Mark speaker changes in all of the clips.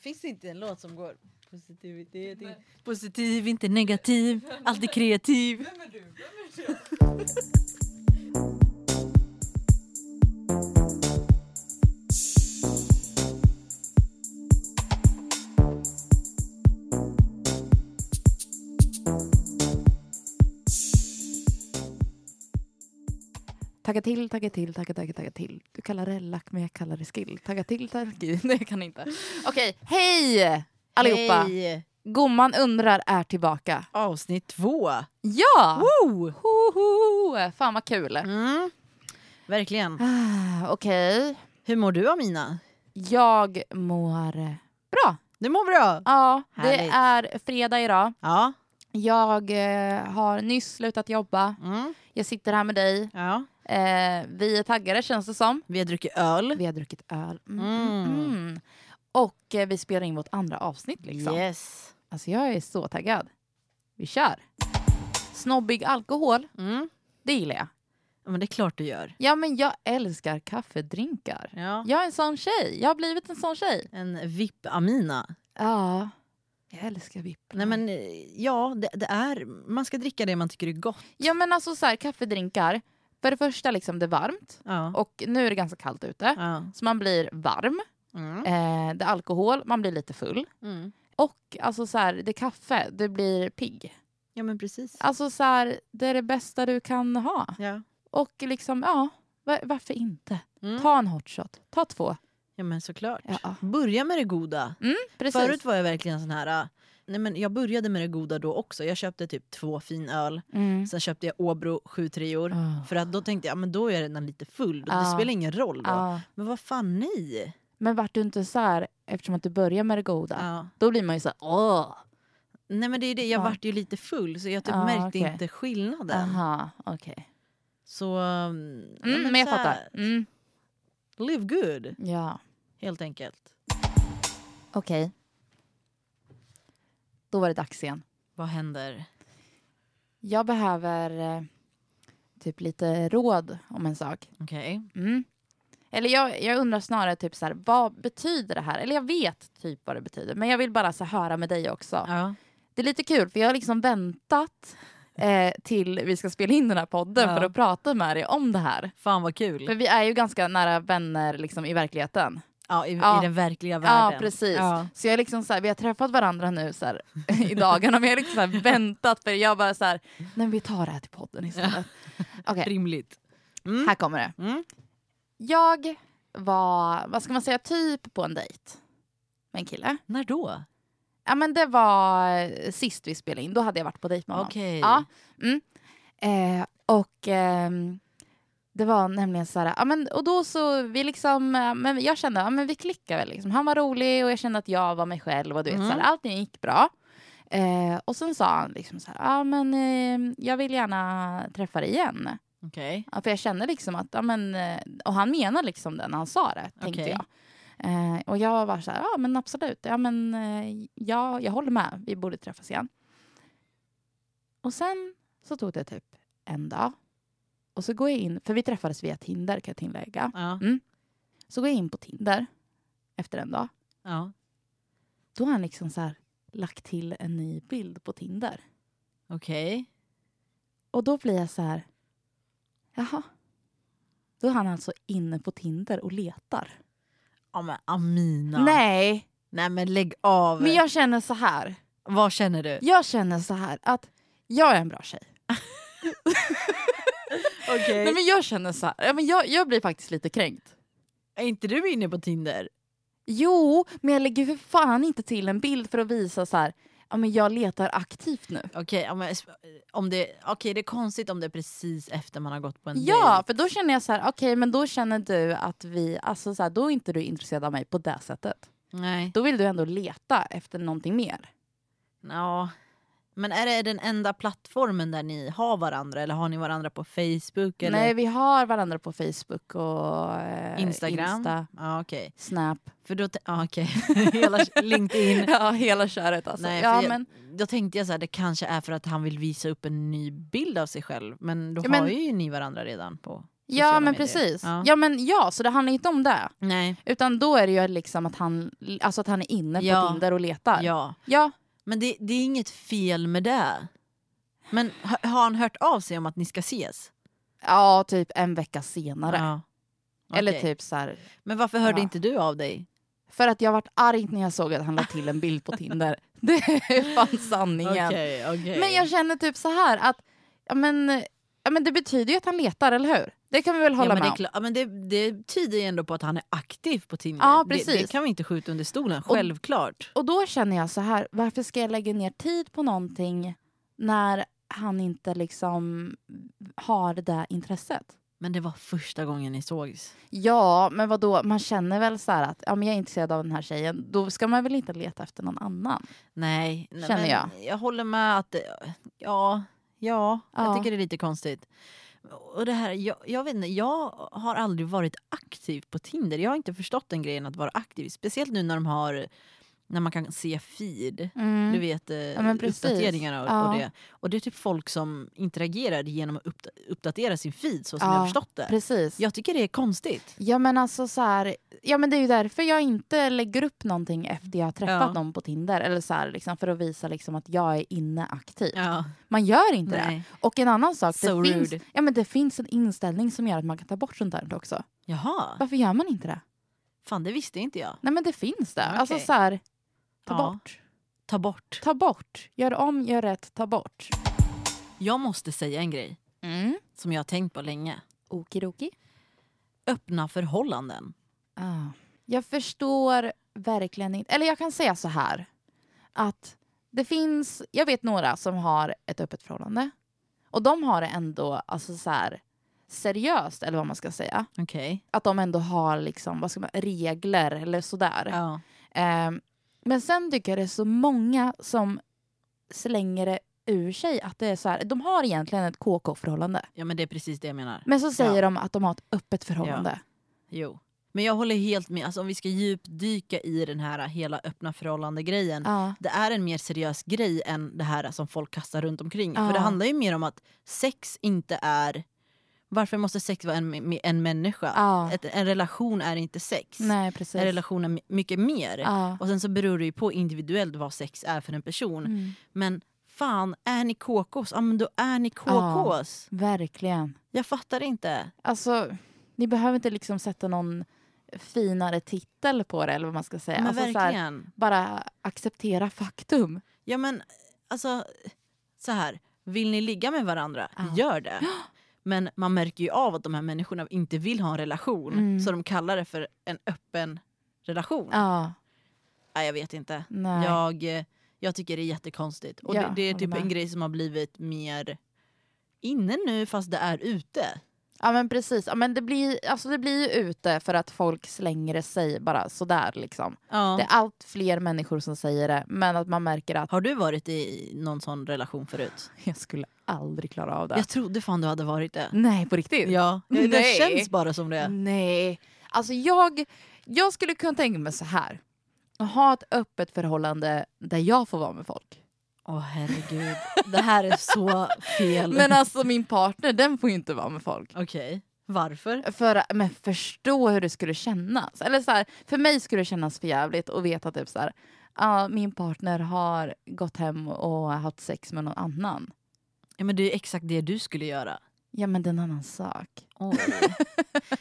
Speaker 1: Finns det inte en låt som går positivitet?
Speaker 2: Nej.
Speaker 1: Positiv, inte negativ, alltid kreativ.
Speaker 2: Vem är du? Vem är jag?
Speaker 3: Tagga till, tagga till, tagga, tagga, tagga till. Du kallar det lack men jag kallar det skill. Tagga till, tagga till. Nej, jag kan inte. Okej, hej allihopa!
Speaker 1: Hej!
Speaker 3: Gumman undrar är tillbaka.
Speaker 1: Avsnitt två.
Speaker 3: Ja!
Speaker 1: Woo!
Speaker 3: Hoho! Fan vad kul.
Speaker 1: Mm. Verkligen.
Speaker 3: Ah, Okej,
Speaker 1: Hur mår du Amina?
Speaker 3: jag mår bra.
Speaker 1: Du mår bra?
Speaker 3: Ja, det
Speaker 1: Härligt.
Speaker 3: är fredag idag.
Speaker 1: Ja.
Speaker 3: Jag eh, har nyss slutat jobba.
Speaker 1: Mm.
Speaker 3: Jag sitter här med dig.
Speaker 1: ja.
Speaker 3: Eh, vi är taggade känns det som.
Speaker 1: Vi har druckit öl.
Speaker 3: Vi har druckit öl. Mm,
Speaker 1: Mm.
Speaker 3: mm. Mm. Och eh, vi spelar in vårt andra avsnitt. Liksom.
Speaker 1: Yes.
Speaker 3: Alltså, jag är så taggad. Vi kör! Snobbig alkohol,
Speaker 1: Mm.
Speaker 3: det gillar jag.
Speaker 1: Ja, men det är klart du gör.
Speaker 3: Ja, men jag älskar kaffedrinkar.
Speaker 1: Ja.
Speaker 3: Jag är en sån tjej. Jag har blivit en sån tjej.
Speaker 1: En VIP-Amina.
Speaker 3: Ja, jag älskar vipp.
Speaker 1: Nej men eh, ja, det, det är, man ska dricka det man tycker är gott.
Speaker 3: Ja, men alltså så här, kaffedrinkar. För det första, liksom, det är varmt.
Speaker 1: Ja.
Speaker 3: Och nu är det ganska kallt ute.
Speaker 1: ja.
Speaker 3: Så man blir varm.
Speaker 1: Mm.
Speaker 3: Eh, det är alkohol, man blir lite full.
Speaker 1: Mm.
Speaker 3: Och alltså så här, det är kaffe, du blir pigg.
Speaker 1: Ja men precis.
Speaker 3: Alltså så här, det är det bästa du kan ha.
Speaker 1: Ja.
Speaker 3: Och liksom, ja, va- varför inte?
Speaker 1: Mm.
Speaker 3: Ta en hot shot, ta två.
Speaker 1: ja men såklart.
Speaker 3: Ja.
Speaker 1: Börja med det goda.
Speaker 3: Precis.
Speaker 1: Förut var jag verkligen sån här... ah, Nej men jag började med det goda då också. Jag köpte typ två finöl.
Speaker 3: Mm.
Speaker 1: Sen köpte jag Åbro 7 treor.
Speaker 3: Ah.
Speaker 1: För att då tänkte jag men då är jag redan lite full. Det
Speaker 3: Ja.
Speaker 1: spelar ingen roll då.
Speaker 3: Ja.
Speaker 1: Men vad fan nej.
Speaker 3: Men vart du inte så här, eftersom att du börjar med det goda,
Speaker 1: Ja.
Speaker 3: då blir man ju så här, åh.
Speaker 1: Nej men det är det. Jag
Speaker 3: Ja.
Speaker 1: vart ju lite full så jag typ
Speaker 3: Ja,
Speaker 1: märkte
Speaker 3: okej.
Speaker 1: inte skillnaden.
Speaker 3: Aha, okej.
Speaker 1: Så... mm, ja,
Speaker 3: Mm, men jag
Speaker 1: så här,
Speaker 3: fattar. Mm.
Speaker 1: Live good
Speaker 3: Ja,
Speaker 1: helt enkelt.
Speaker 3: okej. Då var det dags igen.
Speaker 1: Vad händer?
Speaker 3: Jag behöver eh, typ lite råd om en sak.
Speaker 1: Okej.
Speaker 3: Mm. Eller jag, jag undrar snarare typ så här, vad betyder det här? Eller jag vet typ vad det betyder, men jag vill bara så här, höra med dig också.
Speaker 1: Ja.
Speaker 3: Det är lite kul, för jag har liksom väntat eh, till vi ska spela in den här podden
Speaker 1: Ja.
Speaker 3: för att prata med dig om det här.
Speaker 1: Fan vad kul.
Speaker 3: För vi är ju ganska nära vänner liksom, i verkligheten.
Speaker 1: Ja, i,
Speaker 3: Ja.
Speaker 1: i den verkliga världen.
Speaker 3: Ja, precis.
Speaker 1: Ja.
Speaker 3: Så jag är liksom så här, vi har träffat varandra nu så här, i dagarna, men jag har liksom så här, väntat för jag bara så här, nej men vi tar det här till podden istället. Okej,
Speaker 1: Rimligt. Mm.
Speaker 3: här kommer det.
Speaker 1: Mm.
Speaker 3: Jag var, vad ska man säga, typ på en dejt med en kille.
Speaker 1: När då?
Speaker 3: Ja men det var eh, sist vi spelade in, då hade jag varit på dejt med honom.
Speaker 1: Okej.
Speaker 3: Ja. Mm. Eh, och ehm, det var nämligen så här, ja, men, och då så, vi liksom, eh, men jag kände, ja men vi klickade väl liksom. Han var rolig och jag kände att jag var mig själv och du vet,
Speaker 1: Mm.
Speaker 3: så här, allting gick bra. Eh, och sen sa han liksom så här, ja men eh, jag vill gärna träffa dig igen.
Speaker 1: Okej.
Speaker 3: Ja, för jag kände liksom att, ja, men, eh, och han menade liksom det när han sa det, tänkte
Speaker 1: Okej.
Speaker 3: jag. Eh, och jag var så här, ja men absolut, ja men eh, ja, jag håller med, vi borde träffas igen. Och sen så tog det typ en dag. Och så går jag in, för vi träffades via Tinder kan jag tillägga.
Speaker 1: Ja.
Speaker 3: Så går jag in på Tinder efter en dag.
Speaker 1: ja.
Speaker 3: Då har han liksom så här lagt till en ny bild på Tinder.
Speaker 1: Okej.
Speaker 3: Och då blir jag så här, jaha. Då är han alltså inne på Tinder och letar.
Speaker 1: Ja men Amina.
Speaker 3: Nej,
Speaker 1: Nej men lägg av.
Speaker 3: men jag känner så här.
Speaker 1: Vad känner du?
Speaker 3: Jag känner så här att jag är en bra tjej.
Speaker 1: Okej.
Speaker 3: Nej, men jag känner så här. Ja, men jag, jag blir faktiskt lite kränkt.
Speaker 1: Är inte du inne på Tinder?
Speaker 3: Jo, men jag lägger för fan inte till en bild för att visa så här. Ja, men jag letar aktivt nu.
Speaker 1: Okej, ja, men sp- om det, okej, det är konstigt om det är precis efter man har gått på en
Speaker 3: Ja,
Speaker 1: dejt.
Speaker 3: för då känner jag så här. Okej, men då känner du att vi, alltså så här, då är inte du intresserad av mig på det sättet.
Speaker 1: Nej.
Speaker 3: Då vill du ändå leta efter någonting mer.
Speaker 1: Ja. Men är det den enda plattformen där ni har varandra? Eller har ni varandra på Facebook? Eller
Speaker 3: Nej, vi har varandra på Facebook och eh,
Speaker 1: Instagram?
Speaker 3: Insta,
Speaker 1: Ja, okej.
Speaker 3: Snap.
Speaker 1: För då... t- Ja, okej. Hela LinkedIn.
Speaker 3: Ja, hela köret alltså.
Speaker 1: Nej, för
Speaker 3: ja,
Speaker 1: jag,
Speaker 3: men,
Speaker 1: Då tänkte jag så här, det kanske är för att han vill visa upp en ny bild av sig själv. Men då
Speaker 3: Ja,
Speaker 1: har
Speaker 3: men-
Speaker 1: ju ni varandra redan på
Speaker 3: Ja
Speaker 1: sociala
Speaker 3: men
Speaker 1: medier.
Speaker 3: precis.
Speaker 1: Ja.
Speaker 3: Ja. men ja, så det handlar inte om det.
Speaker 1: Nej,
Speaker 3: Utan då är det ju liksom att han, alltså att han är inne på
Speaker 1: Ja.
Speaker 3: Tinder och letar.
Speaker 1: ja.
Speaker 3: ja.
Speaker 1: Men det, det är inget fel med det. Men ha- har han hört av sig om att ni ska ses?
Speaker 3: Ja, typ en vecka senare.
Speaker 1: Ja.
Speaker 3: Eller
Speaker 1: Okej.
Speaker 3: typ så här.
Speaker 1: Men varför hörde
Speaker 3: Ja.
Speaker 1: inte du av dig?
Speaker 3: För att jag vart arg när jag såg att han la till en bild på Tinder. Det är fan sanningen. Men jag känner typ så här att ja, men, ja, men det betyder ju att han letar, eller hur? Det kan vi väl
Speaker 1: ja,
Speaker 3: hålla
Speaker 1: men
Speaker 3: med
Speaker 1: det, är
Speaker 3: om.
Speaker 1: klart- ja, men det, det tyder ju ändå på att han är aktiv på Tinder.
Speaker 3: Ja,
Speaker 1: Det, det
Speaker 3: precis.
Speaker 1: kan vi inte skjuta under stolen, självklart.
Speaker 3: Och då känner jag så här, varför ska jag lägga ner tid på någonting när han inte liksom har det där intresset?
Speaker 1: Men det var första gången ni sågs.
Speaker 3: Ja, men vad då? man känner väl så här att ja, men jag är intresserad av den här tjejen, då ska man väl inte leta efter någon annan?
Speaker 1: Nej, nej,
Speaker 3: Känner
Speaker 1: men
Speaker 3: jag.
Speaker 1: Jag håller med att... det- Ja, ja, jag
Speaker 3: Ja.
Speaker 1: tycker det är lite konstigt. Och det här, jag, jag vet inte, jag har aldrig varit aktiv på Tinder. Jag har inte förstått den grejen att vara aktiv. Speciellt nu när de har... När man kan se feed.
Speaker 3: Mm.
Speaker 1: Du vet eh,
Speaker 3: men precis.
Speaker 1: uppdateringarna och, och
Speaker 3: Ja.
Speaker 1: det. Och det är typ folk som interagerar genom att uppda- uppdatera sin feed så som
Speaker 3: Ja,
Speaker 1: jag har förstått det.
Speaker 3: Precis.
Speaker 1: Jag tycker det är konstigt.
Speaker 3: Ja men alltså så här, ja men det är ju därför jag inte lägger upp någonting efter jag har träffat
Speaker 1: Ja.
Speaker 3: någon på Tinder. Eller så här, liksom, för att visa liksom, att jag är inne aktivt.
Speaker 1: Ja,
Speaker 3: Man gör inte
Speaker 1: nej.
Speaker 3: det. Och en annan sak,
Speaker 1: So
Speaker 3: det finns,
Speaker 1: rude.
Speaker 3: ja, men det finns en inställning som gör att man kan ta bort sånt här också.
Speaker 1: Jaha,
Speaker 3: Varför gör man inte det?
Speaker 1: fan det visste inte jag.
Speaker 3: Nej men det finns det.
Speaker 1: Okej.
Speaker 3: Alltså så här, ta
Speaker 1: Ja.
Speaker 3: bort.
Speaker 1: Ta bort.
Speaker 3: Ta bort. Gör om, gör rätt, ta bort.
Speaker 1: Jag måste säga en grej
Speaker 3: Mm.
Speaker 1: som jag har tänkt på länge.
Speaker 3: Okidoki.
Speaker 1: Öppna förhållanden.
Speaker 3: Ah. Jag förstår verkligen inte. Eller jag kan säga så här. Att det finns, jag vet några som har ett öppet förhållande. Och de har det ändå alltså så här, seriöst, eller vad man ska säga.
Speaker 1: Okej.
Speaker 3: Att de ändå har liksom, vad ska man, regler eller sådär.
Speaker 1: Ja.
Speaker 3: Ehm, men sen tycker jag det är så många som slänger det ur sig. Att det är så här, de har egentligen ett KK-förhållande.
Speaker 1: ja, men det är precis det jag menar.
Speaker 3: Men så säger
Speaker 1: Ja.
Speaker 3: de att de har ett öppet förhållande.
Speaker 1: Jo. Men jag håller helt med. Alltså, om vi ska djupdyka i den här hela öppna förhållande-grejen.
Speaker 3: Ja.
Speaker 1: det är en mer seriös grej än det här som folk kastar runt omkring.
Speaker 3: Ja.
Speaker 1: För det handlar ju mer om att sex inte är... Varför måste sex vara en, med en människa?
Speaker 3: Ja.
Speaker 1: Ett, en relation är inte sex.
Speaker 3: Nej, precis.
Speaker 1: En relation är my- mycket mer.
Speaker 3: Ja.
Speaker 1: Och sen så beror det ju på individuellt vad sex är för en person.
Speaker 3: Mm.
Speaker 1: Men fan, är ni KKs? Ja men då är ni KKs.
Speaker 3: Verkligen.
Speaker 1: Jag fattar inte.
Speaker 3: Alltså, ni behöver inte liksom sätta någon finare titel på det eller vad man ska säga.
Speaker 1: Men
Speaker 3: alltså, så här,
Speaker 1: verkligen.
Speaker 3: bara acceptera faktum.
Speaker 1: Ja men alltså så här. Vill ni ligga med varandra,
Speaker 3: Ja.
Speaker 1: gör det. Men man märker ju av att de här människorna inte vill ha en relation.
Speaker 3: Mm.
Speaker 1: Så de kallar det för en öppen relation.
Speaker 3: Ja,
Speaker 1: Nej, jag vet inte.
Speaker 3: nej.
Speaker 1: Jag, eh, jag tycker det är jättekonstigt. Och
Speaker 3: Ja,
Speaker 1: det, det är
Speaker 3: håller
Speaker 1: typ
Speaker 3: med.
Speaker 1: en grej som har blivit mer inne nu fast det är ute.
Speaker 3: Ja men precis. Ja, men det, blir, alltså, det blir ju ute för att folk slänger sig bara sådär liksom.
Speaker 1: Ja.
Speaker 3: Det är allt fler människor som säger det men att man märker att
Speaker 1: Har du varit i någon sån relation förut?
Speaker 3: jag skulle aldrig klara av det.
Speaker 1: Jag trodde fan du hade varit det.
Speaker 3: Nej på riktigt?
Speaker 1: Ja, det, det
Speaker 3: Nej.
Speaker 1: känns bara som det.
Speaker 3: Nej. Alltså jag, jag skulle kunna tänka mig så här. Att ha ett öppet förhållande där jag får vara med folk.
Speaker 1: Åh herregud, det här är så fel.
Speaker 3: Men alltså min partner, den får ju inte vara med folk.
Speaker 1: Okej, varför?
Speaker 3: För, men förstå hur det skulle kännas. Eller så här, för mig skulle det kännas för jävligt att veta typ så här, ja, min partner har gått hem och haft sex med någon annan.
Speaker 1: Ja, men det är ju exakt det du skulle göra.
Speaker 3: Ja men det är en annan sak.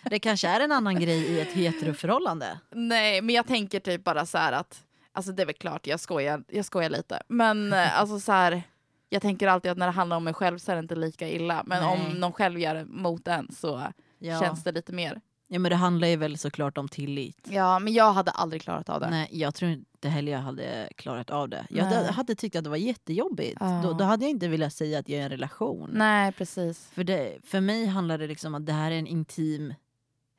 Speaker 1: det kanske är en annan grej i ett heteroförhållande.
Speaker 3: Nej men jag tänker typ bara så här att, alltså det är väl klart jag skojar, jag skojar lite. Men eh, alltså så här, jag tänker alltid att när det handlar om mig själv så är det inte lika illa. Men
Speaker 1: Nej.
Speaker 3: om någon själv gör det mot en så
Speaker 1: Ja.
Speaker 3: känns det lite mer.
Speaker 1: ja, men det handlar ju väl såklart om tillit.
Speaker 3: Ja men jag hade aldrig klarat av det.
Speaker 1: Nej, jag tror inte heller jag hade klarat av det. Jag
Speaker 3: Nej.
Speaker 1: hade, hade tyckt att det var jättejobbigt.
Speaker 3: Ja.
Speaker 1: Då, då hade jag inte velat säga att jag är i en relation.
Speaker 3: Nej precis.
Speaker 1: För, det, för mig handlar det liksom om att det här är en intim,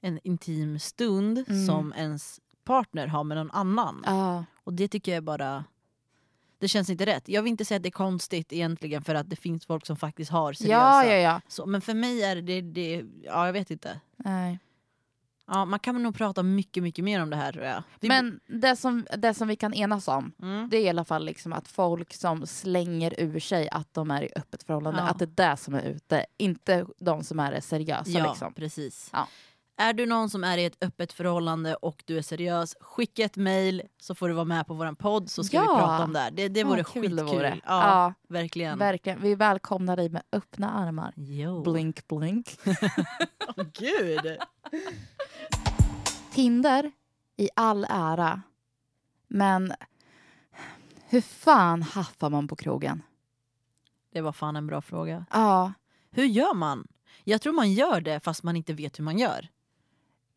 Speaker 1: en intim stund
Speaker 3: Mm.
Speaker 1: som ens partner har med någon annan.
Speaker 3: Ja.
Speaker 1: Och det tycker jag bara... Det känns inte rätt. Jag vill inte säga att det är konstigt egentligen för att det finns folk som faktiskt har seriösa.
Speaker 3: Ja, ja, ja.
Speaker 1: Så, men för mig är det... det ja, jag vet inte.
Speaker 3: Nej.
Speaker 1: Ja, man kan nog prata mycket, mycket mer om det här tror jag. Vi-
Speaker 3: Men det som, det som vi kan enas om,
Speaker 1: mm.
Speaker 3: det är i alla fall liksom att folk som slänger ur sig att de är i öppet förhållande,
Speaker 1: Ja.
Speaker 3: att det är det som är ute, inte de som är seriösa.
Speaker 1: ja,
Speaker 3: Liksom.
Speaker 1: precis.
Speaker 3: Ja.
Speaker 1: Är du någon som är i ett öppet förhållande och du är seriös, skicka ett mejl så får du vara med på vår podd så ska vi
Speaker 3: Ja.
Speaker 1: prata om det här. Det, det vore skitkul.
Speaker 3: vore.
Speaker 1: Ja,
Speaker 3: Ja,
Speaker 1: verkligen.
Speaker 3: verkligen. Vi välkomnar dig med öppna armar.
Speaker 1: Jo.
Speaker 3: Blink, blink.
Speaker 1: Åh, Gud!
Speaker 3: Tinder i all ära, men hur fan haffar man på krogen?
Speaker 1: Det var fan en bra fråga.
Speaker 3: Ja,
Speaker 1: Hur gör man? Jag tror man gör det fast man inte vet hur man gör.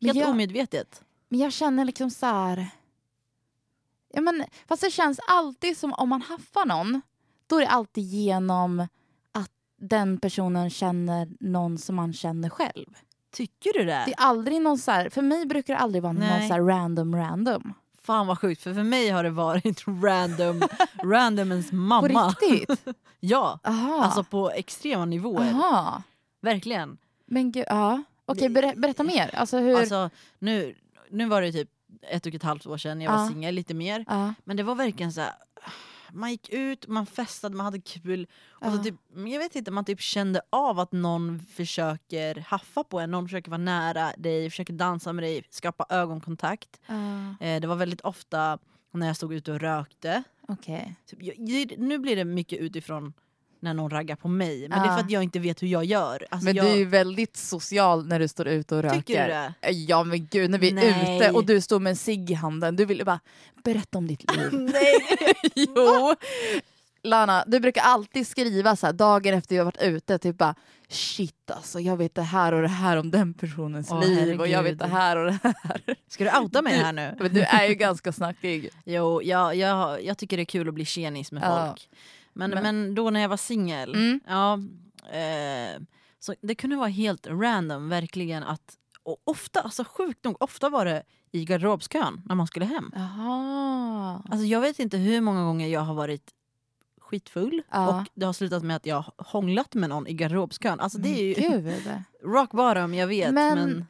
Speaker 3: men
Speaker 1: Helt
Speaker 3: jag,
Speaker 1: omedvetet.
Speaker 3: men jag känner liksom så här... Ja, men, fast det känns alltid som om man haffar någon, då är det alltid genom att den personen känner någon som man känner själv.
Speaker 1: Tycker du det?
Speaker 3: Det är aldrig någon så här, för mig brukar det aldrig vara någon
Speaker 1: Nej.
Speaker 3: så här random random.
Speaker 1: Fan vad sjukt för för mig har det varit random, randomens
Speaker 3: På
Speaker 1: mamma.
Speaker 3: riktigt?
Speaker 1: Ja,
Speaker 3: Aha.
Speaker 1: alltså på extrema nivåer.
Speaker 3: Aha.
Speaker 1: Verkligen.
Speaker 3: Men gud, ja. Okej, berä- berätta mer. Alltså hur...
Speaker 1: Alltså, nu, nu var det typ ett och ett halvt år sedan jag var
Speaker 3: Ja.
Speaker 1: singel lite mer.
Speaker 3: ja.
Speaker 1: Men det var verkligen så här. Man gick ut, man festade, man hade kul. Och
Speaker 3: Ja.
Speaker 1: så typ, men jag vet inte, man typ kände av att någon försöker haffa på en, någon försöker vara nära dig, försöker dansa med dig, skapa ögonkontakt.
Speaker 3: Ja,
Speaker 1: Eh, det var väldigt ofta när jag stod ute och rökte.
Speaker 3: Okej.
Speaker 1: Typ, jag, det- nu blir det mycket utifrån när någon raggar på mig, men det är
Speaker 3: Ja.
Speaker 1: för att jag inte vet hur jag gör. Alltså,
Speaker 3: Men
Speaker 1: jag,
Speaker 3: du är ju väldigt social när du står ute och röker.
Speaker 1: Tycker du det?
Speaker 3: Ja men gud, när vi är
Speaker 1: Nej.
Speaker 3: ute och du står med en cigg i handen, du vill ju bara berätta om ditt liv.
Speaker 1: Nej!
Speaker 3: jo! Lana, du brukar alltid skriva så här, dagen efter jag varit ute, typ bara shit alltså, jag vet det här och det här om den personens
Speaker 1: Åh,
Speaker 3: liv och jag
Speaker 1: herregud.
Speaker 3: vet det här och det här.
Speaker 1: Ska du outa mig här nu?
Speaker 3: Men du är ju ganska snackig.
Speaker 1: Jo, jag, jag, jag tycker det är kul att bli tjenis med
Speaker 3: Ja.
Speaker 1: folk. Men, men.
Speaker 3: Men-
Speaker 1: då när jag var singel,
Speaker 3: Mm.
Speaker 1: ja, eh, så det kunde vara helt random verkligen att och ofta, alltså sjukt nog, ofta var det i garderobskön när man skulle hem.
Speaker 3: Jaha.
Speaker 1: Alltså jag vet inte hur många gånger jag har varit skitfull
Speaker 3: Ja.
Speaker 1: och det har slutat med att jag har hånglat med någon i garderobskön. Alltså det är ju
Speaker 3: Gud.
Speaker 1: rock bottom, jag vet. Men,
Speaker 3: Men-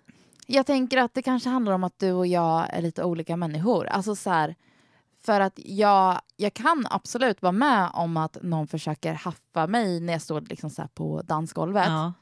Speaker 3: Jag tänker att det kanske handlar om att du och jag är lite olika människor. Alltså så här, för att jag, jag kan absolut vara med om att någon försöker haffa mig när jag står liksom så här på dansgolvet.
Speaker 1: ja.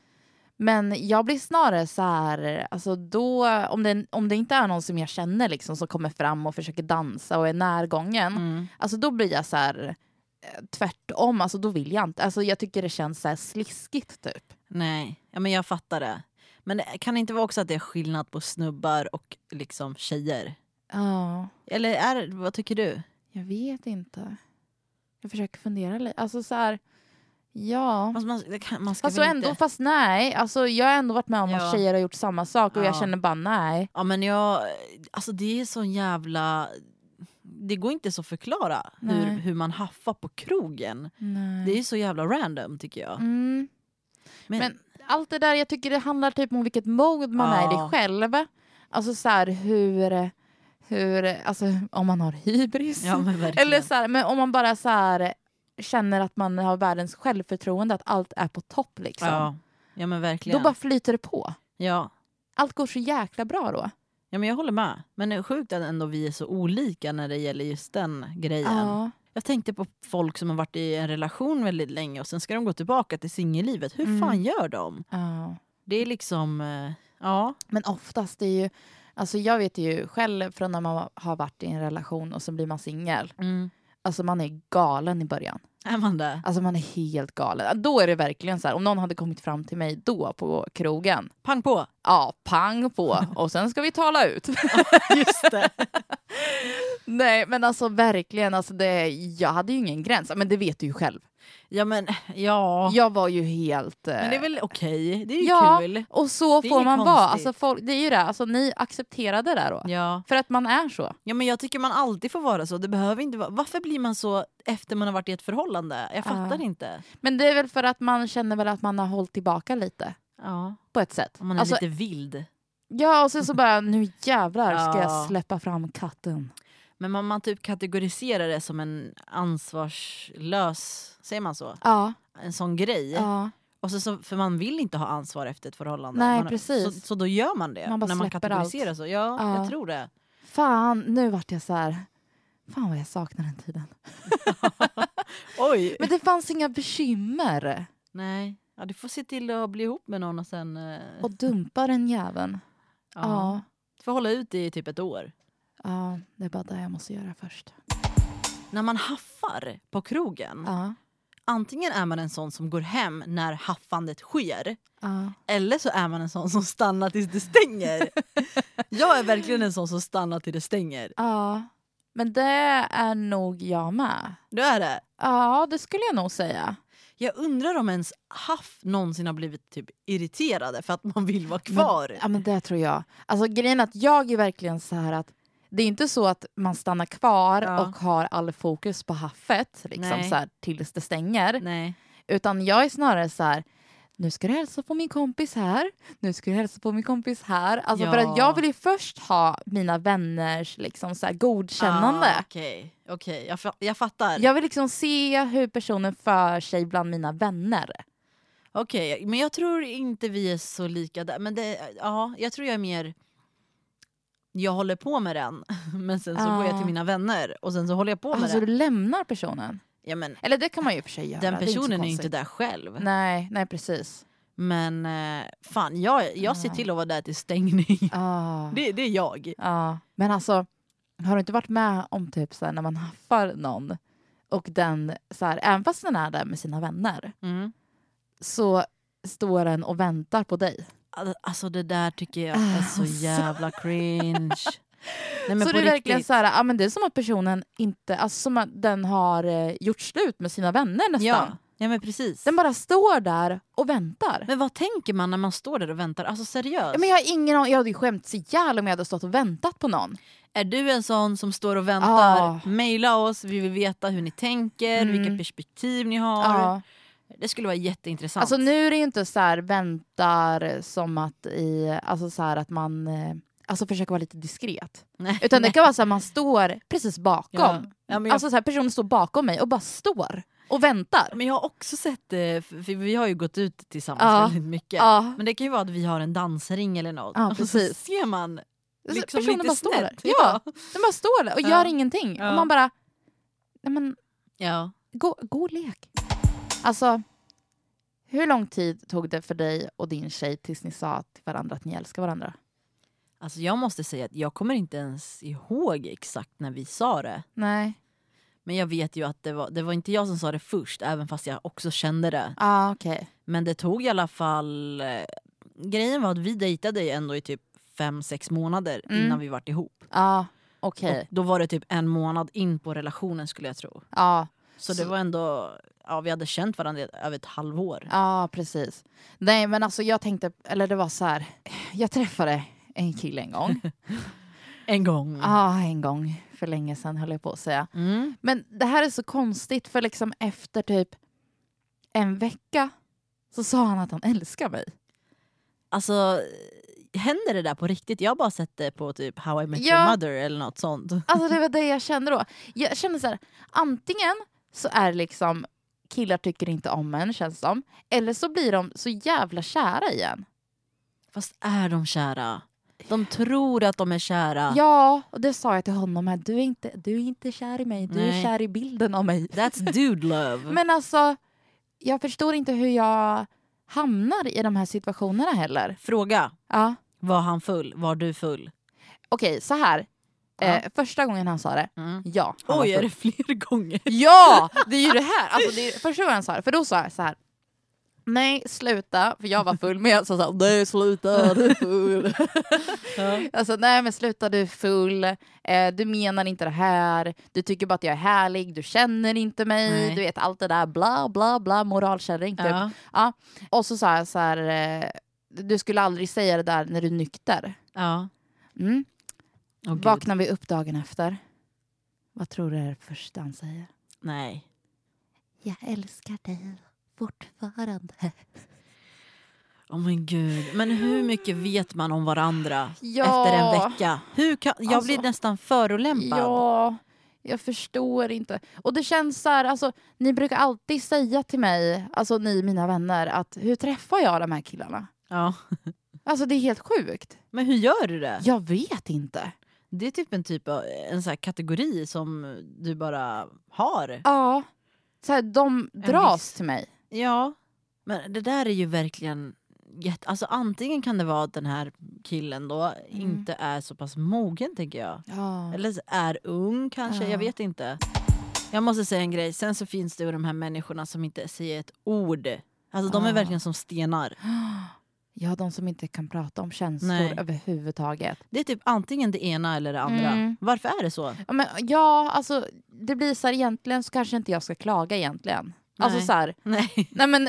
Speaker 3: Men jag blir snarare så här, alltså då, om, det, om det inte är någon som jag känner liksom, som kommer fram och försöker dansa och är närgången,
Speaker 1: mm.
Speaker 3: alltså då blir jag så här eh, tvärtom. Alltså då vill jag inte. Alltså jag tycker det känns så här sliskigt typ.
Speaker 1: Nej, ja, men jag fattar det. Men det- kan det inte vara också att det är skillnad på snubbar och liksom tjejer?
Speaker 3: Ja.
Speaker 1: Eller är, det- vad tycker du?
Speaker 3: Jag vet inte. Jag försöker fundera lite. Alltså så här, ja.
Speaker 1: Fast man, det kan, man ska
Speaker 3: Fast, så
Speaker 1: väl
Speaker 3: ändå,
Speaker 1: inte...
Speaker 3: fast nej. Alltså, jag har ändå varit med om
Speaker 1: Ja.
Speaker 3: att tjejer har gjort samma sak och jag
Speaker 1: Ja.
Speaker 3: känner bara nej.
Speaker 1: Ja men jag, alltså det är sån jävla... Det går inte så att förklara hur,
Speaker 3: Nej.
Speaker 1: hur man haffar på krogen.
Speaker 3: nej.
Speaker 1: Det är så jävla random tycker jag.
Speaker 3: mm.
Speaker 1: Men,
Speaker 3: men- Allt det där, jag tycker det handlar typ om vilket mod man är i
Speaker 1: Ja.
Speaker 3: det själv. Alltså så här, hur, hur, alltså om man har hybris.
Speaker 1: ja, men verkligen.
Speaker 3: Eller så här, men om man bara så här, känner att man har världens självförtroende, att allt är på topp liksom.
Speaker 1: ja. ja men verkligen.
Speaker 3: då bara flyter det på.
Speaker 1: ja.
Speaker 3: Allt går så jäkla bra då.
Speaker 1: ja men jag håller med. Men det är sjukt att ändå vi är så olika när det gäller just den grejen.
Speaker 3: Ja.
Speaker 1: Jag tänkte på folk som har varit i en relation väldigt länge och sen ska de gå tillbaka till singellivet. Hur
Speaker 3: Mm.
Speaker 1: fan gör de?
Speaker 3: ja.
Speaker 1: Det är liksom... eh, Ja.
Speaker 3: Men oftast det är ju, alltså jag vet ju själv från när man har varit i en relation och så blir man singel.
Speaker 1: Mm.
Speaker 3: Alltså man är galen i början.
Speaker 1: Är man det?
Speaker 3: Alltså man är helt galen. Då är det verkligen så här, om någon hade kommit fram till mig då på krogen.
Speaker 1: Pang på!
Speaker 3: Ja, pang på och sen ska vi tala ut.
Speaker 1: Just det.
Speaker 3: Nej men alltså verkligen, alltså det, jag hade ju ingen gräns. Men det vet du ju själv.
Speaker 1: Ja men ja.
Speaker 3: Jag var ju helt... eh,
Speaker 1: Men det är väl okej? Det är ju
Speaker 3: Ja.
Speaker 1: kul.
Speaker 3: Och så
Speaker 1: Det är
Speaker 3: får
Speaker 1: inget
Speaker 3: man vara.
Speaker 1: konstigt.
Speaker 3: Alltså, folk, det är ju det, alltså, ni accepterade det då.
Speaker 1: Ja.
Speaker 3: För att man är så.
Speaker 1: ja men jag tycker man alltid får vara så. Det behöver inte vara... Varför blir man så efter man har varit i ett förhållande? Jag
Speaker 3: Ja.
Speaker 1: fattar inte.
Speaker 3: Men det är väl för att man känner väl att man har hållit tillbaka lite.
Speaker 1: Ja.
Speaker 3: På ett sätt.
Speaker 1: Man är
Speaker 3: Alltså,
Speaker 1: lite vild.
Speaker 3: Ja, och sen så bara nu jävlar
Speaker 1: Ja.
Speaker 3: ska jag släppa fram katten.
Speaker 1: Men man, man typ kategoriserar det som en ansvarslös, säger man så?
Speaker 3: Ja,
Speaker 1: En sån grej.
Speaker 3: ja.
Speaker 1: Och så, så, för man vill inte ha ansvar efter ett förhållande.
Speaker 3: Nej,
Speaker 1: man,
Speaker 3: precis.
Speaker 1: Så, så då gör man det.
Speaker 3: Man bara
Speaker 1: när man
Speaker 3: släpper allt.
Speaker 1: kategoriserar så. Ja,
Speaker 3: Ja.
Speaker 1: jag tror det.
Speaker 3: Fan, nu vart jag så här... Fan vad jag saknar den tiden.
Speaker 1: Oj!
Speaker 3: Men det fanns inga bekymmer.
Speaker 1: Nej. Ja, du får se till att bli ihop med någon och sen... eh,
Speaker 3: Och dumpa den jäveln.
Speaker 1: ja.
Speaker 3: Ja.
Speaker 1: Du får hålla ut i typ ett år.
Speaker 3: ja, det är bara det jag måste göra först.
Speaker 1: När man haffar på krogen,
Speaker 3: Ja.
Speaker 1: antingen är man en sån som går hem när haffandet sker
Speaker 3: ja.
Speaker 1: eller så är man en sån som stannar tills det stänger. jag är verkligen en sån som stannar tills det stänger.
Speaker 3: Ja, men det är nog jag med.
Speaker 1: Du är det?
Speaker 3: Ja, det skulle jag nog säga.
Speaker 1: Jag undrar om ens haff någonsin har blivit typ irriterade för att man vill vara kvar.
Speaker 3: Ja, men det tror jag. Alltså grejen är att jag är verkligen så här att det är inte så att man stannar kvar
Speaker 1: Ja.
Speaker 3: och har all fokus på haffet liksom
Speaker 1: Nej.
Speaker 3: så här, tills det stänger.
Speaker 1: Nej.
Speaker 3: Utan jag är snarare så här nu ska du hälsa på min kompis här, nu ska du hälsa på min kompis här. Alltså för
Speaker 1: Ja.
Speaker 3: att jag vill ju först ha mina vänners liksom så här godkännande.
Speaker 1: Ah, Okej, okej. Jag, fa- jag fattar.
Speaker 3: Jag vill liksom se hur personen för sig bland mina vänner.
Speaker 1: Okej, men jag tror inte vi är så lika där. Men det, ja, jag tror jag är mer... Jag håller på med den, men sen så
Speaker 3: Ja.
Speaker 1: går jag till mina vänner och sen så håller jag på med
Speaker 3: Ah. Alltså du
Speaker 1: den.
Speaker 3: lämnar personen?
Speaker 1: Ja, men,
Speaker 3: Eller det kan man ju i och för sig göra.
Speaker 1: den
Speaker 3: det så
Speaker 1: personen är ju
Speaker 3: konstigt.
Speaker 1: inte där själv.
Speaker 3: Nej, nej precis.
Speaker 1: Men eh, fan, jag, jag ser
Speaker 3: Ja.
Speaker 1: till att vara där till stängning.
Speaker 3: Ah,
Speaker 1: Det, det är jag.
Speaker 3: ah. Men alltså, har du inte varit med om typ så här, när man haffar någon och den, så här, även fast den är där med sina vänner,
Speaker 1: Mm.
Speaker 3: så står den och väntar på dig.
Speaker 1: Al- Alltså det där tycker jag är så
Speaker 3: Alltså.
Speaker 1: jävla cringe. Nej, men
Speaker 3: så
Speaker 1: på
Speaker 3: det är verkligen
Speaker 1: riktigt.
Speaker 3: så här, ah, men det är som att personen inte, alltså som att den har eh, gjort slut med sina vänner nästan.
Speaker 1: Ja, ja men precis.
Speaker 3: Den bara står där och väntar.
Speaker 1: Men vad tänker man när man står där och väntar? Alltså seriöst.
Speaker 3: Men jag har ingen aning, jag hade ju skämts ihjäl om jag hade stått och väntat på någon.
Speaker 1: Är du en sån som står och väntar?
Speaker 3: Ah.
Speaker 1: Mejla oss, vi vill veta hur ni tänker,
Speaker 3: Mm.
Speaker 1: vilka perspektiv ni har.
Speaker 3: Ja.
Speaker 1: Det skulle vara jätteintressant.
Speaker 3: Alltså nu är det ju inte så här väntar som att i, alltså så här att man eh, alltså försöker vara lite diskret.
Speaker 1: Nej.
Speaker 3: Utan det kan vara så att man står precis
Speaker 1: ja.
Speaker 3: bakom.
Speaker 1: Ja, men, jag,
Speaker 3: Alltså så här, personen står bakom mig och bara står och väntar.
Speaker 1: men jag har också sett, eh, för för vi har ju gått ut tillsammans
Speaker 3: Ja.
Speaker 1: väldigt mycket.
Speaker 3: Ja.
Speaker 1: Men det kan ju vara att vi har en dansring eller något.
Speaker 3: Ja,
Speaker 1: Och så
Speaker 3: Ah. precis.
Speaker 1: ser man
Speaker 3: Så
Speaker 1: liksom
Speaker 3: Alltså, personen
Speaker 1: lite
Speaker 3: bara står där.
Speaker 1: snett.
Speaker 3: Ja, den bara står där och
Speaker 1: Ja.
Speaker 3: gör ingenting.
Speaker 1: Ja.
Speaker 3: Och man bara, nej men
Speaker 1: ja.
Speaker 3: gå, gå och lek. Alltså, hur lång tid tog det för dig och din tjej tills ni sa till varandra att ni älskar varandra?
Speaker 1: Alltså jag måste säga att jag kommer inte ens ihåg exakt när vi sa det.
Speaker 3: Nej.
Speaker 1: Men jag vet ju att det var, det var inte jag som sa det först, även fast jag också kände det.
Speaker 3: Ja, Ah, okej.
Speaker 1: Men det tog i alla fall... Eh, grejen var att vi dejtade ju ändå i typ fem, sex månader
Speaker 3: Mm.
Speaker 1: innan vi vart ihop.
Speaker 3: Ja, Ah, okej.
Speaker 1: Och då var det typ en månad in på relationen skulle jag tro.
Speaker 3: Ja,
Speaker 1: Så,
Speaker 3: Så-
Speaker 1: det var ändå... Ja, vi hade känt varandra i över ett halvår.
Speaker 3: ja precis. Nej men alltså jag tänkte, eller det var så här. Jag träffade en kille en gång. Ja,
Speaker 1: En gång.
Speaker 3: Ah. en gång. För länge sedan höll jag på att säga.
Speaker 1: Mm.
Speaker 3: Men det här är så konstigt för liksom efter typ en vecka så sa han att han älskar mig.
Speaker 1: Alltså, händer det där på riktigt? Jag har bara sett det på typ How I Met
Speaker 3: Ja.
Speaker 1: Your Mother eller något sånt.
Speaker 3: Alltså det var det jag kände då. Jag kände så här, antingen så är det liksom killar tycker inte om en känns det som. Eller så blir de så jävla kära igen.
Speaker 1: Fast är de kära? De tror att de är kära.
Speaker 3: Ja, och det sa jag till honom här. Du är inte, du är inte kär i mig, du är
Speaker 1: Nej.
Speaker 3: kär i bilden av mig.
Speaker 1: That's dude love.
Speaker 3: Men alltså, jag förstår inte hur jag hamnar i de här situationerna heller.
Speaker 1: Fråga.
Speaker 3: Ja.
Speaker 1: Var han full? Var du full?
Speaker 3: Okej, så här.
Speaker 1: Ja.
Speaker 3: Eh, första gången han sa det,
Speaker 1: Mm.
Speaker 3: ja. han var
Speaker 1: Oj, är
Speaker 3: full.
Speaker 1: det fler gånger?
Speaker 3: Ja, det är ju det här. Alltså, det är första gången han sa det, för då sa jag så här. Nej, sluta. För jag var full, men jag sa så här, nej sluta, du är full. Alltså nej men sluta du är full, eh, du menar inte det här, du tycker bara att jag är härlig, du känner inte mig,
Speaker 1: Nej.
Speaker 3: du vet allt det där bla bla bla moralkärring typ.
Speaker 1: Ja.
Speaker 3: Och så sa jag så här, eh, du skulle aldrig säga det där när du är nykter.
Speaker 1: ja.
Speaker 3: Mm.
Speaker 1: Åh, gud.
Speaker 3: Vaknar vi upp dagen efter, vad tror du är det första han säger?
Speaker 1: Nej.
Speaker 3: Jag älskar dig fortfarande.
Speaker 1: Oh men gud. Men hur mycket vet man om varandra
Speaker 3: Ja.
Speaker 1: efter en vecka? Hur kan, jag
Speaker 3: Alltså.
Speaker 1: blir nästan förolämpad.
Speaker 3: Ja, Jag förstår inte. Och det känns så här, alltså, ni brukar alltid säga till mig, alltså ni mina vänner, att hur träffar jag de här killarna?
Speaker 1: Ja.
Speaker 3: Alltså det är helt sjukt.
Speaker 1: Men hur gör du det?
Speaker 3: Jag vet inte.
Speaker 1: Det är typ en typ av en så här kategori som du bara har.
Speaker 3: Ja. Så här, de
Speaker 1: En
Speaker 3: dras
Speaker 1: viss-
Speaker 3: till mig.
Speaker 1: Ja. Men det där är ju verkligen... jätte- Alltså antingen kan det vara att den här killen då inte är så pass mogen tänker jag.
Speaker 3: Mm. Ja.
Speaker 1: Eller så är ung kanske,
Speaker 3: Ja.
Speaker 1: jag vet inte. Jag måste säga en grej, sen så finns det ju de här människorna som inte säger ett ord. Alltså de
Speaker 3: Ja.
Speaker 1: är verkligen som stenar.
Speaker 3: Ja, de som inte kan prata om känslor
Speaker 1: Nej.
Speaker 3: överhuvudtaget.
Speaker 1: Det är typ antingen det ena eller det andra.
Speaker 3: Mm.
Speaker 1: Varför är det så?
Speaker 3: Ja, men, ja, alltså det blir så här egentligen så kanske inte jag ska klaga egentligen. Alltså
Speaker 1: Nej.
Speaker 3: så här,
Speaker 1: Nej.
Speaker 3: nej men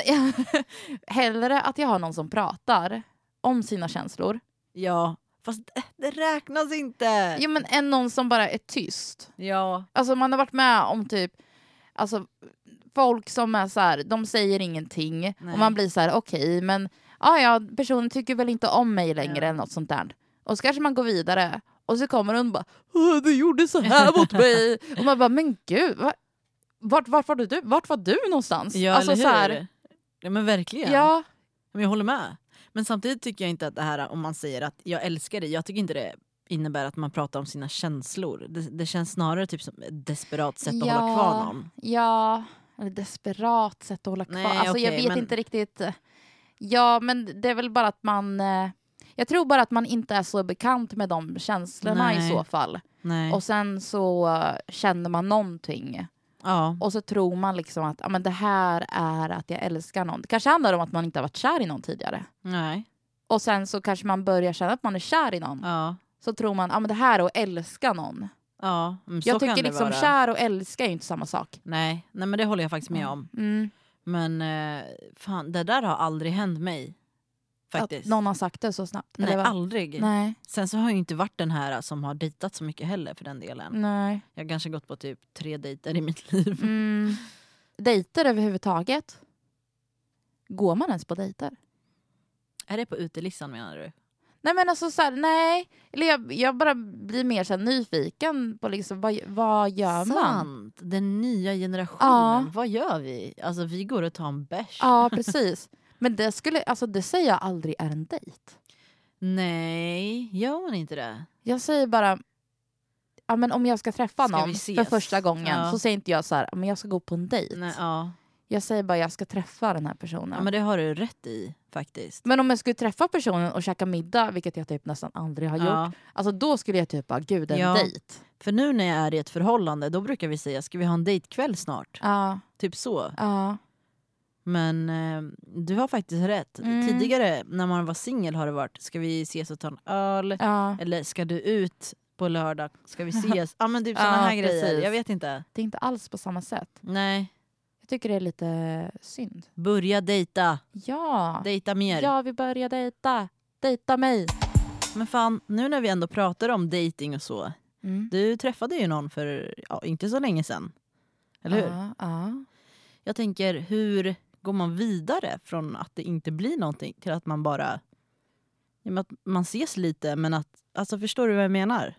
Speaker 3: hellre att jag har någon som pratar om sina känslor.
Speaker 1: Ja, fast det- det räknas inte.
Speaker 3: Jo men än någon som bara är tyst.
Speaker 1: Ja.
Speaker 3: Alltså man har varit med om typ, alltså folk som är så här, de säger ingenting
Speaker 1: Nej.
Speaker 3: och man blir så här okej men ja ja personen tycker väl inte om mig längre
Speaker 1: Ja.
Speaker 3: eller något sånt där. Och så kanske man går vidare och så kommer hon och bara "Åh, du gjorde så här mot mig och man bara men gud va, vart, vart, var du, vart var du någonstans?
Speaker 1: Ja,
Speaker 3: Alltså,
Speaker 1: eller
Speaker 3: så
Speaker 1: hur?
Speaker 3: här,
Speaker 1: ja men verkligen.
Speaker 3: ja,
Speaker 1: Men jag håller med. Men samtidigt tycker jag inte att det här om man säger att jag älskar dig, jag tycker inte det innebär att man pratar om sina känslor. Det, det känns snarare typ som ett desperat sätt att
Speaker 3: Ja.
Speaker 1: hålla kvar någon.
Speaker 3: Ja, eller desperat sätt att hålla kvar.
Speaker 1: Nej,
Speaker 3: alltså, jag
Speaker 1: okej,
Speaker 3: vet
Speaker 1: men-
Speaker 3: inte riktigt. Ja, men det är väl bara att man... eh, Jag tror bara att man inte är så bekant med de känslorna i
Speaker 1: Nej.
Speaker 3: så fall.
Speaker 1: Nej.
Speaker 3: Och sen så eh, känner man någonting.
Speaker 1: ja.
Speaker 3: Och så tror man liksom att ja, men det här är att jag älskar någon. Det kanske handlar om att man inte har varit kär i någon tidigare.
Speaker 1: Nej.
Speaker 3: Och sen så kanske man börjar känna att man är kär i någon.
Speaker 1: Ja.
Speaker 3: Så tror man ja, men det här är att älska någon.
Speaker 1: Ja, men så
Speaker 3: jag
Speaker 1: kan
Speaker 3: tycker
Speaker 1: det
Speaker 3: liksom
Speaker 1: vara.
Speaker 3: kär och älska är ju inte samma sak.
Speaker 1: Nej, nej, men det håller jag faktiskt med om.
Speaker 3: Mm.
Speaker 1: Men eh, fan, det där har aldrig hänt mig.
Speaker 3: Att
Speaker 1: Faktiskt.
Speaker 3: någon har sagt det så snabbt.
Speaker 1: Nej,
Speaker 3: eller vad?
Speaker 1: aldrig.
Speaker 3: Nej,
Speaker 1: Sen så har jag ju inte varit den här som har dejtat så mycket heller för den delen.
Speaker 3: nej.
Speaker 1: Jag har kanske gått på typ tre dejter i mitt liv.
Speaker 3: Mm. Dejter överhuvudtaget? Går man ens på dejter?
Speaker 1: Är det på utelistan menar du?
Speaker 3: Nej men alltså så här, nej. Eller jag, jag bara blir mer så här nyfiken på liksom, vad, vad gör man?
Speaker 1: Sant! Den nya generationen.
Speaker 3: Ja.
Speaker 1: Vad gör vi? Alltså vi går och tar en bärs.
Speaker 3: Ja precis. Men det, skulle, alltså, det säger jag aldrig är en dejt.
Speaker 1: Nej, gör man inte det?
Speaker 3: Jag säger bara, ja, men om jag ska träffa
Speaker 1: Ska
Speaker 3: någon
Speaker 1: vi ses?
Speaker 3: för första gången
Speaker 1: Ja.
Speaker 3: så säger inte jag så här, "Ja, men jag ska gå på en dejt.
Speaker 1: Nej, ja.
Speaker 3: Jag säger bara jag ska träffa den här personen.
Speaker 1: ja, men det har du rätt i faktiskt.
Speaker 3: Men om jag skulle träffa personen och käka middag, vilket jag typ nästan aldrig har gjort,
Speaker 1: Ja.
Speaker 3: alltså då skulle jag typ bara, gud en
Speaker 1: Ja.
Speaker 3: dejt.
Speaker 1: För nu när jag är i ett förhållande då brukar vi säga ska vi ha en dejtkväll snart?
Speaker 3: Ja,
Speaker 1: Typ så.
Speaker 3: ja.
Speaker 1: Men eh, du har faktiskt rätt.
Speaker 3: Mm.
Speaker 1: Tidigare när man var singel har det varit ska vi ses och ta en öl?
Speaker 3: ja.
Speaker 1: Eller ska du ut på lördag? Ska vi ses? Ja men typ
Speaker 3: Ja,
Speaker 1: såna här grejer.
Speaker 3: precis.
Speaker 1: Jag vet inte.
Speaker 3: Det är inte alls på samma sätt.
Speaker 1: Nej.
Speaker 3: Jag tycker det är lite synd.
Speaker 1: Börja dejta.
Speaker 3: Ja,
Speaker 1: Dejta mer.
Speaker 3: jag vill börja dejta. Dejta mig.
Speaker 1: Men fan, nu när vi ändå pratar om dating och så.
Speaker 3: Mm.
Speaker 1: Du träffade ju någon för ja, inte så länge sedan. Eller hur?
Speaker 3: Ja, ja.
Speaker 1: Jag tänker, hur går man vidare från att det inte blir någonting till att man bara... Ja, men att man ses lite, men att... Alltså förstår du vad jag menar?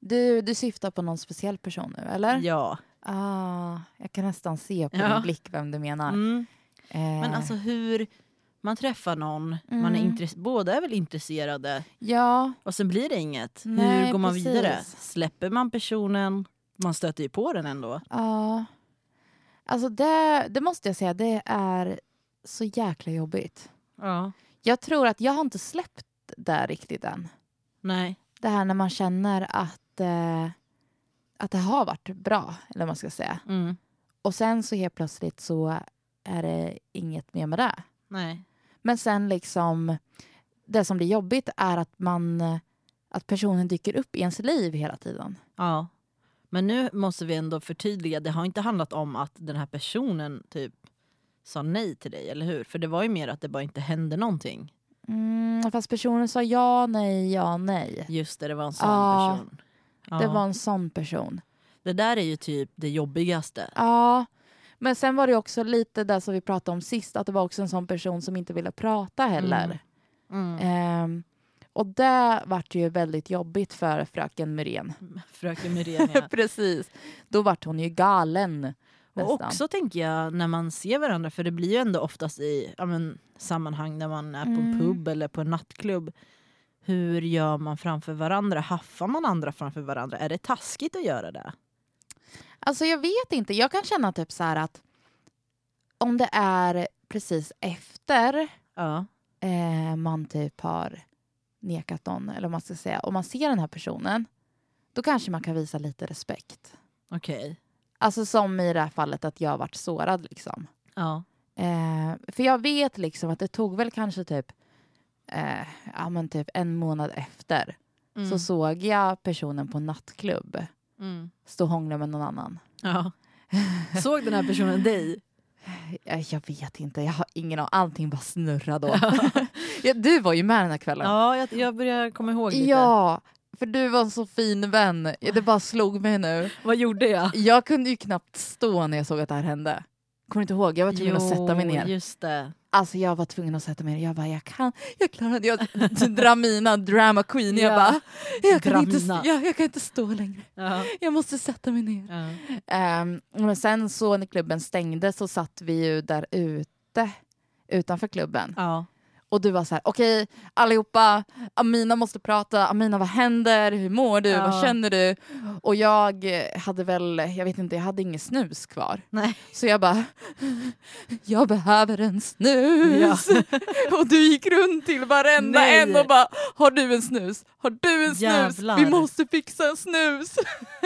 Speaker 3: Du, du syftar på någon speciell person nu, eller?
Speaker 1: Ja.
Speaker 3: Ah, jag kan nästan se på
Speaker 1: Ja.
Speaker 3: din blick vem du menar.
Speaker 1: Mm.
Speaker 3: Eh,
Speaker 1: Men alltså hur... Man träffar någon, man är
Speaker 3: Mm.
Speaker 1: intress- båda är väl intresserade
Speaker 3: ja,
Speaker 1: och sen blir det inget. hur
Speaker 3: Nej,
Speaker 1: går man
Speaker 3: precis.
Speaker 1: vidare? Släpper man personen? Man stöter ju på den ändå.
Speaker 3: ja. Alltså det, det måste jag säga, det är så jäkla jobbigt.
Speaker 1: Ja.
Speaker 3: Jag tror att jag har inte släppt det riktigt än.
Speaker 1: Nej.
Speaker 3: det här när man känner att, eh, att det har varit bra, eller vad man ska säga.
Speaker 1: Mm.
Speaker 3: Och sen så helt plötsligt så är det inget mer med det.
Speaker 1: Nej.
Speaker 3: Men sen liksom, det som blir jobbigt är att man eh, att personen dyker upp i ens liv hela tiden.
Speaker 1: Ja. Men nu måste vi ändå förtydliga, det har inte handlat om att den här personen typ sa nej till dig, eller hur? För det var ju mer att det bara inte hände någonting.
Speaker 3: Mm, fast personen sa ja, nej, ja, nej.
Speaker 1: Just det, det var en sån
Speaker 3: Ja.
Speaker 1: person. Ja.
Speaker 3: Det var en sån person.
Speaker 1: det där är ju typ det jobbigaste.
Speaker 3: Ja, men sen var det också lite det som vi pratade om sist, att det var också en sån person som inte ville prata heller.
Speaker 1: Mm.
Speaker 3: Ehm, Och det vart ju väldigt jobbigt för fröken Muren.
Speaker 1: Fröken Myrén, ja.
Speaker 3: Precis. Då vart hon ju galen.
Speaker 1: Och
Speaker 3: nästan.
Speaker 1: också tänker jag när man ser varandra, för det blir ju ändå oftast i ja, men, sammanhang när man är på en
Speaker 3: Mm.
Speaker 1: pub eller på en nattklubb. Hur gör man framför varandra? Haffar man andra framför varandra? Är det taskigt att göra det?
Speaker 3: Alltså jag vet inte. Jag kan känna typ så här att om det är precis efter
Speaker 1: Ja.
Speaker 3: eh, man typ har nekat någon, eller vad man ska säga, och man ser den här personen, då kanske man kan visa lite respekt.
Speaker 1: Okej.
Speaker 3: Alltså som i det här fallet att jag varit sårad liksom.
Speaker 1: Ja.
Speaker 3: Eh, för jag vet liksom att det tog väl kanske typ, eh, ja, men typ en månad efter
Speaker 1: Mm.
Speaker 3: så såg jag personen på en nattklubb
Speaker 1: Mm.
Speaker 3: stå och hångla med någon annan.
Speaker 1: ja. Såg den här personen dig?
Speaker 3: Eh, Jag vet inte, jag har ingen aning. Allting bara snurrar då. ja, du var ju med den här kvällen.
Speaker 1: Ja, jag, jag börjar komma ihåg lite.
Speaker 3: Ja, för du var en så fin vän. Det bara slog mig nu.
Speaker 1: Vad gjorde jag?
Speaker 3: Jag kunde ju knappt stå när jag såg att det här hände. Kommer du inte ihåg? Jag var tvungen att sätta mig
Speaker 1: Jo,
Speaker 3: ner.
Speaker 1: just det.
Speaker 3: Alltså jag var tvungen att sätta mig ner. Jag bara, jag kan, jag klarar det. Jag drar mina drama queen. Jag
Speaker 1: Ja.
Speaker 3: bara, jag kan, inte,
Speaker 1: Dramina.
Speaker 3: jag, jag kan inte stå längre.
Speaker 1: Ja.
Speaker 3: Jag måste sätta mig ner.
Speaker 1: Ja.
Speaker 3: Ehm, men sen så när klubben stängde så satt vi ju där ute utanför klubben.
Speaker 1: ja.
Speaker 3: Och du var så här, okej allihopa, Amina måste prata, Amina vad händer, hur mår du,
Speaker 1: Ja.
Speaker 3: vad känner du? Och jag eh, hade väl, jag vet inte, jag hade ingen snus kvar.
Speaker 1: Nej.
Speaker 3: Så jag bara, jag behöver en snus. och du gick runt till varenda
Speaker 1: Nej.
Speaker 3: en och bara, har du en snus? Har du en snus?
Speaker 1: Jävlar.
Speaker 3: Vi måste fixa en snus.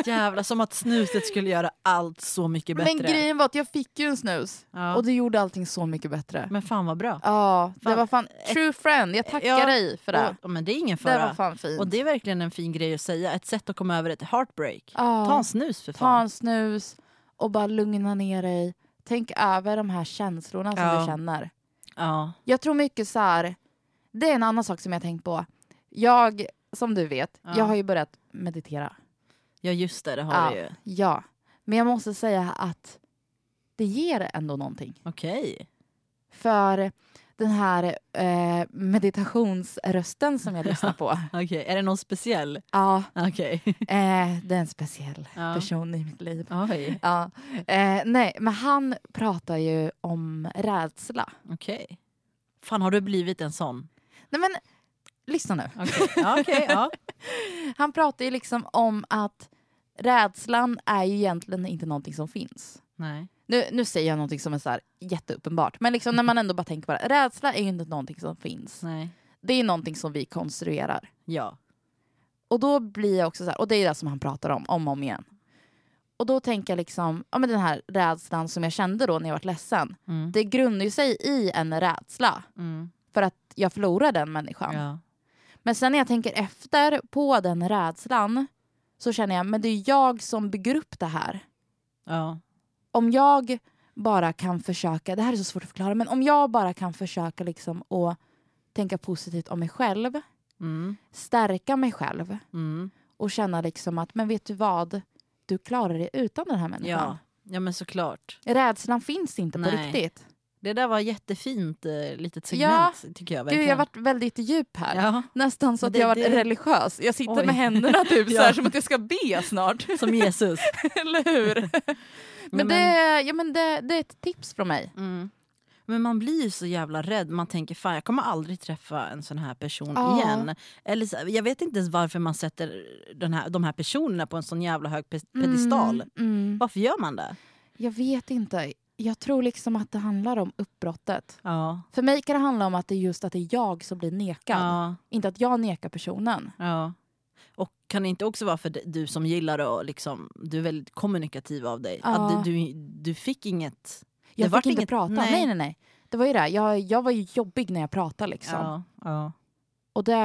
Speaker 1: Jävlar, som att snuset skulle göra allt så mycket bättre.
Speaker 3: Men grejen var att jag fick ju en snus
Speaker 1: ja.
Speaker 3: och det gjorde allting så mycket bättre.
Speaker 1: Men fan vad bra.
Speaker 3: Ja, det
Speaker 1: Fan.
Speaker 3: var fan true friend. Jag tackar
Speaker 1: Ja,
Speaker 3: dig för det.
Speaker 1: Och, men det är ingen
Speaker 3: Det var
Speaker 1: fara.
Speaker 3: fan fint.
Speaker 1: och det är verkligen en fin grej att säga. Ett sätt att komma över ett heartbreak.
Speaker 3: Ja.
Speaker 1: Ta en snus för
Speaker 3: Ta
Speaker 1: fan.
Speaker 3: en snus och bara lugna ner dig. Tänk över de här känslorna som
Speaker 1: Ja.
Speaker 3: du känner.
Speaker 1: Ja.
Speaker 3: Jag tror mycket så här, det är en annan sak som jag har tänkt på. Jag, som du vet,
Speaker 1: Ja.
Speaker 3: jag har ju börjat meditera.
Speaker 1: ja, just det. Det har
Speaker 3: Ja.
Speaker 1: du ju.
Speaker 3: Ja, men jag måste säga att det ger ändå någonting.
Speaker 1: Okej.
Speaker 3: För den här eh, meditationsrösten som jag lyssnar på,
Speaker 1: Okej. Är det någon speciell?
Speaker 3: ja,
Speaker 1: Okej.
Speaker 3: eh, det är en speciell
Speaker 1: Ja.
Speaker 3: person i mitt liv.
Speaker 1: Oj.
Speaker 3: Ja. Eh, nej, men han pratar ju om rädsla.
Speaker 1: Okej. Fan, har du blivit en sån?
Speaker 3: Nej men, lyssna nu.
Speaker 1: Okej. Ja, okej, ja.
Speaker 3: Han pratar ju liksom om att rädslan är ju egentligen inte någonting som finns.
Speaker 1: Nej.
Speaker 3: Nu, nu säger jag någonting som är så här jätteuppenbart, men liksom när man ändå bara tänker på det. Rädsla är ju inte någonting som finns.
Speaker 1: Nej.
Speaker 3: Det är någonting som vi konstruerar.
Speaker 1: Ja.
Speaker 3: Och då blir jag också så här, och det är det som han pratar om, om och om igen. Och då tänker jag liksom, ja men den här rädslan som jag kände då när jag var ledsen.
Speaker 1: Mm.
Speaker 3: Det grundar ju sig i en rädsla
Speaker 1: Mm.
Speaker 3: för att jag förlorar den människan.
Speaker 1: Ja.
Speaker 3: Men sen när jag tänker efter på den rädslan så känner jag men det är jag som bygger upp det här.
Speaker 1: Ja.
Speaker 3: Om jag bara kan försöka, det här är så svårt att förklara, men om jag bara kan försöka liksom att tänka positivt om mig själv,
Speaker 1: Mm.
Speaker 3: stärka mig själv
Speaker 1: Mm.
Speaker 3: och känna liksom att men vet du vad, du klarar dig utan den här
Speaker 1: Ja.
Speaker 3: människan.
Speaker 1: ja, men såklart.
Speaker 3: Rädslan finns inte på
Speaker 1: Nej.
Speaker 3: riktigt.
Speaker 1: Det där var jättefint eh, litet segment, tycker jag.
Speaker 3: Gud,
Speaker 1: Verkligen.
Speaker 3: jag har varit väldigt djup här.
Speaker 1: ja.
Speaker 3: Nästan så
Speaker 1: Men
Speaker 3: att
Speaker 1: det-
Speaker 3: jag har varit
Speaker 1: det-
Speaker 3: religiös. Jag sitter
Speaker 1: Oj.
Speaker 3: med händerna typ så här
Speaker 1: Ja.
Speaker 3: som att jag ska be snart.
Speaker 1: Som Jesus.
Speaker 3: Eller hur?
Speaker 1: Nej,
Speaker 3: Men, det, ja, men det, det är ett tips från mig.
Speaker 1: Mm. Men man blir ju så jävla rädd. Man tänker fan jag kommer aldrig träffa en sån här person
Speaker 3: Ja.
Speaker 1: igen. Eller så, jag vet inte ens varför man sätter den här, de här personerna på en sån jävla hög pe- pedestal.
Speaker 3: Mm.
Speaker 1: Varför gör man det?
Speaker 3: Jag vet inte. Jag tror liksom att det handlar om uppbrottet.
Speaker 1: Ja.
Speaker 3: För mig kan det handla om att det är just att det är jag som blir nekad.
Speaker 1: Ja,
Speaker 3: Inte att jag nekar personen.
Speaker 1: ja. Och kan det inte också vara för d- du som gillar att liksom, du är väldigt kommunikativ av dig.
Speaker 3: Ja.
Speaker 1: Att du, du, du fick inget.
Speaker 3: Jag
Speaker 1: vart
Speaker 3: fick inte
Speaker 1: inget-
Speaker 3: prata.
Speaker 1: nej.
Speaker 3: Nej. nej, nej, Det var ju det. Jag, jag var ju jobbig när jag pratade liksom.
Speaker 1: Ja, ja.
Speaker 3: Och det,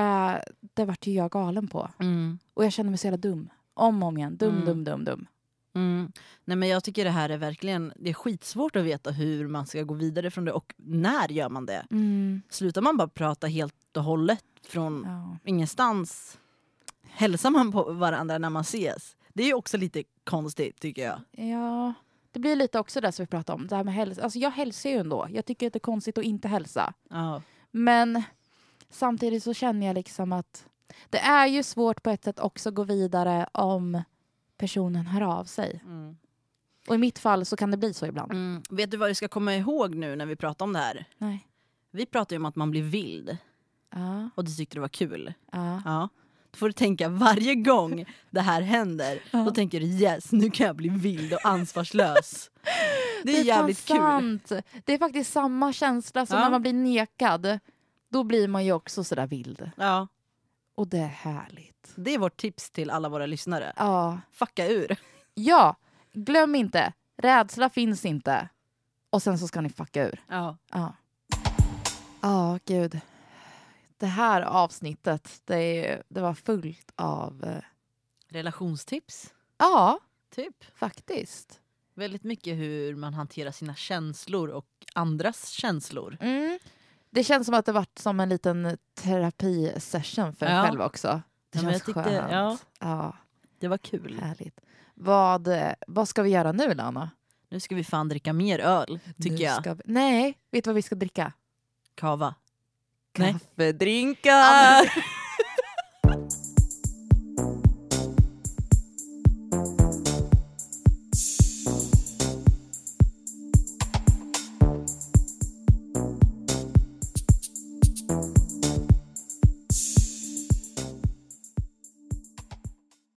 Speaker 3: det vart ju jag galen på.
Speaker 1: Mm.
Speaker 3: Och jag kände mig så jävla dum. Om och om igen. Dum,
Speaker 1: Mm.
Speaker 3: dum, dum, dum.
Speaker 1: Mm. Nej, men jag tycker det här är verkligen det är skitsvårt att veta hur man ska gå vidare från det och när gör man det.
Speaker 3: Mm.
Speaker 1: Slutar man bara prata helt och hållet från
Speaker 3: Ja.
Speaker 1: ingenstans? Hälsar man på varandra när man ses? Det är ju också lite konstigt tycker jag.
Speaker 3: Ja, det blir lite också det som vi pratade om. Det här med hälsa. Alltså jag hälsar ju ändå. Jag tycker att det är konstigt att inte hälsa.
Speaker 1: Ja.
Speaker 3: Men Samtidigt så känner jag liksom att det är ju svårt på ett sätt också att gå vidare om personen hör av sig.
Speaker 1: Mm.
Speaker 3: Och i mitt fall så kan det bli så ibland.
Speaker 1: Vet du vad du ska komma ihåg nu när vi pratar om det här?
Speaker 3: Nej.
Speaker 1: Vi pratar ju om att man blir vild
Speaker 3: Ja,
Speaker 1: och du tyckte det var kul.
Speaker 3: ja.
Speaker 1: Ja. Då får du tänka varje gång det här händer.
Speaker 3: Ja.
Speaker 1: Då tänker du yes, nu kan jag bli vild och ansvarslös. Det är, jävligt
Speaker 3: fan
Speaker 1: kul.
Speaker 3: Sant. Det är faktiskt samma känsla som
Speaker 1: Ja.
Speaker 3: när man blir nekad. Då blir man ju också sådär vild.
Speaker 1: Ja,
Speaker 3: Och det är härligt.
Speaker 1: det är vårt tips till alla våra lyssnare.
Speaker 3: Ja.
Speaker 1: Fucka ur.
Speaker 3: ja, glöm inte. Rädsla finns inte. Och sen så ska ni fucka ur.
Speaker 1: Ja.
Speaker 3: Ja. Ja, gud. Det här avsnittet, det, det var fullt av... eh,
Speaker 1: Relationstips,
Speaker 3: Ja,
Speaker 1: typ.
Speaker 3: faktiskt.
Speaker 1: Väldigt mycket hur man hanterar sina känslor och andras känslor.
Speaker 3: Mm. Det känns som att det varit som en liten terapisession för en
Speaker 1: Ja.
Speaker 3: själv också. Det
Speaker 1: Ja, men
Speaker 3: känns
Speaker 1: jag tyckte-
Speaker 3: skönt.
Speaker 1: ja.
Speaker 3: ja,
Speaker 1: Det var kul.
Speaker 3: härligt. Vad, eh, vad ska vi göra nu, Lana?
Speaker 1: Nu ska vi fan dricka mer öl, tycker
Speaker 3: Nu
Speaker 1: jag.
Speaker 3: ska vi, nej, vet du vad vi ska dricka?
Speaker 1: Kava. Nej.
Speaker 3: Kaffedrinkar!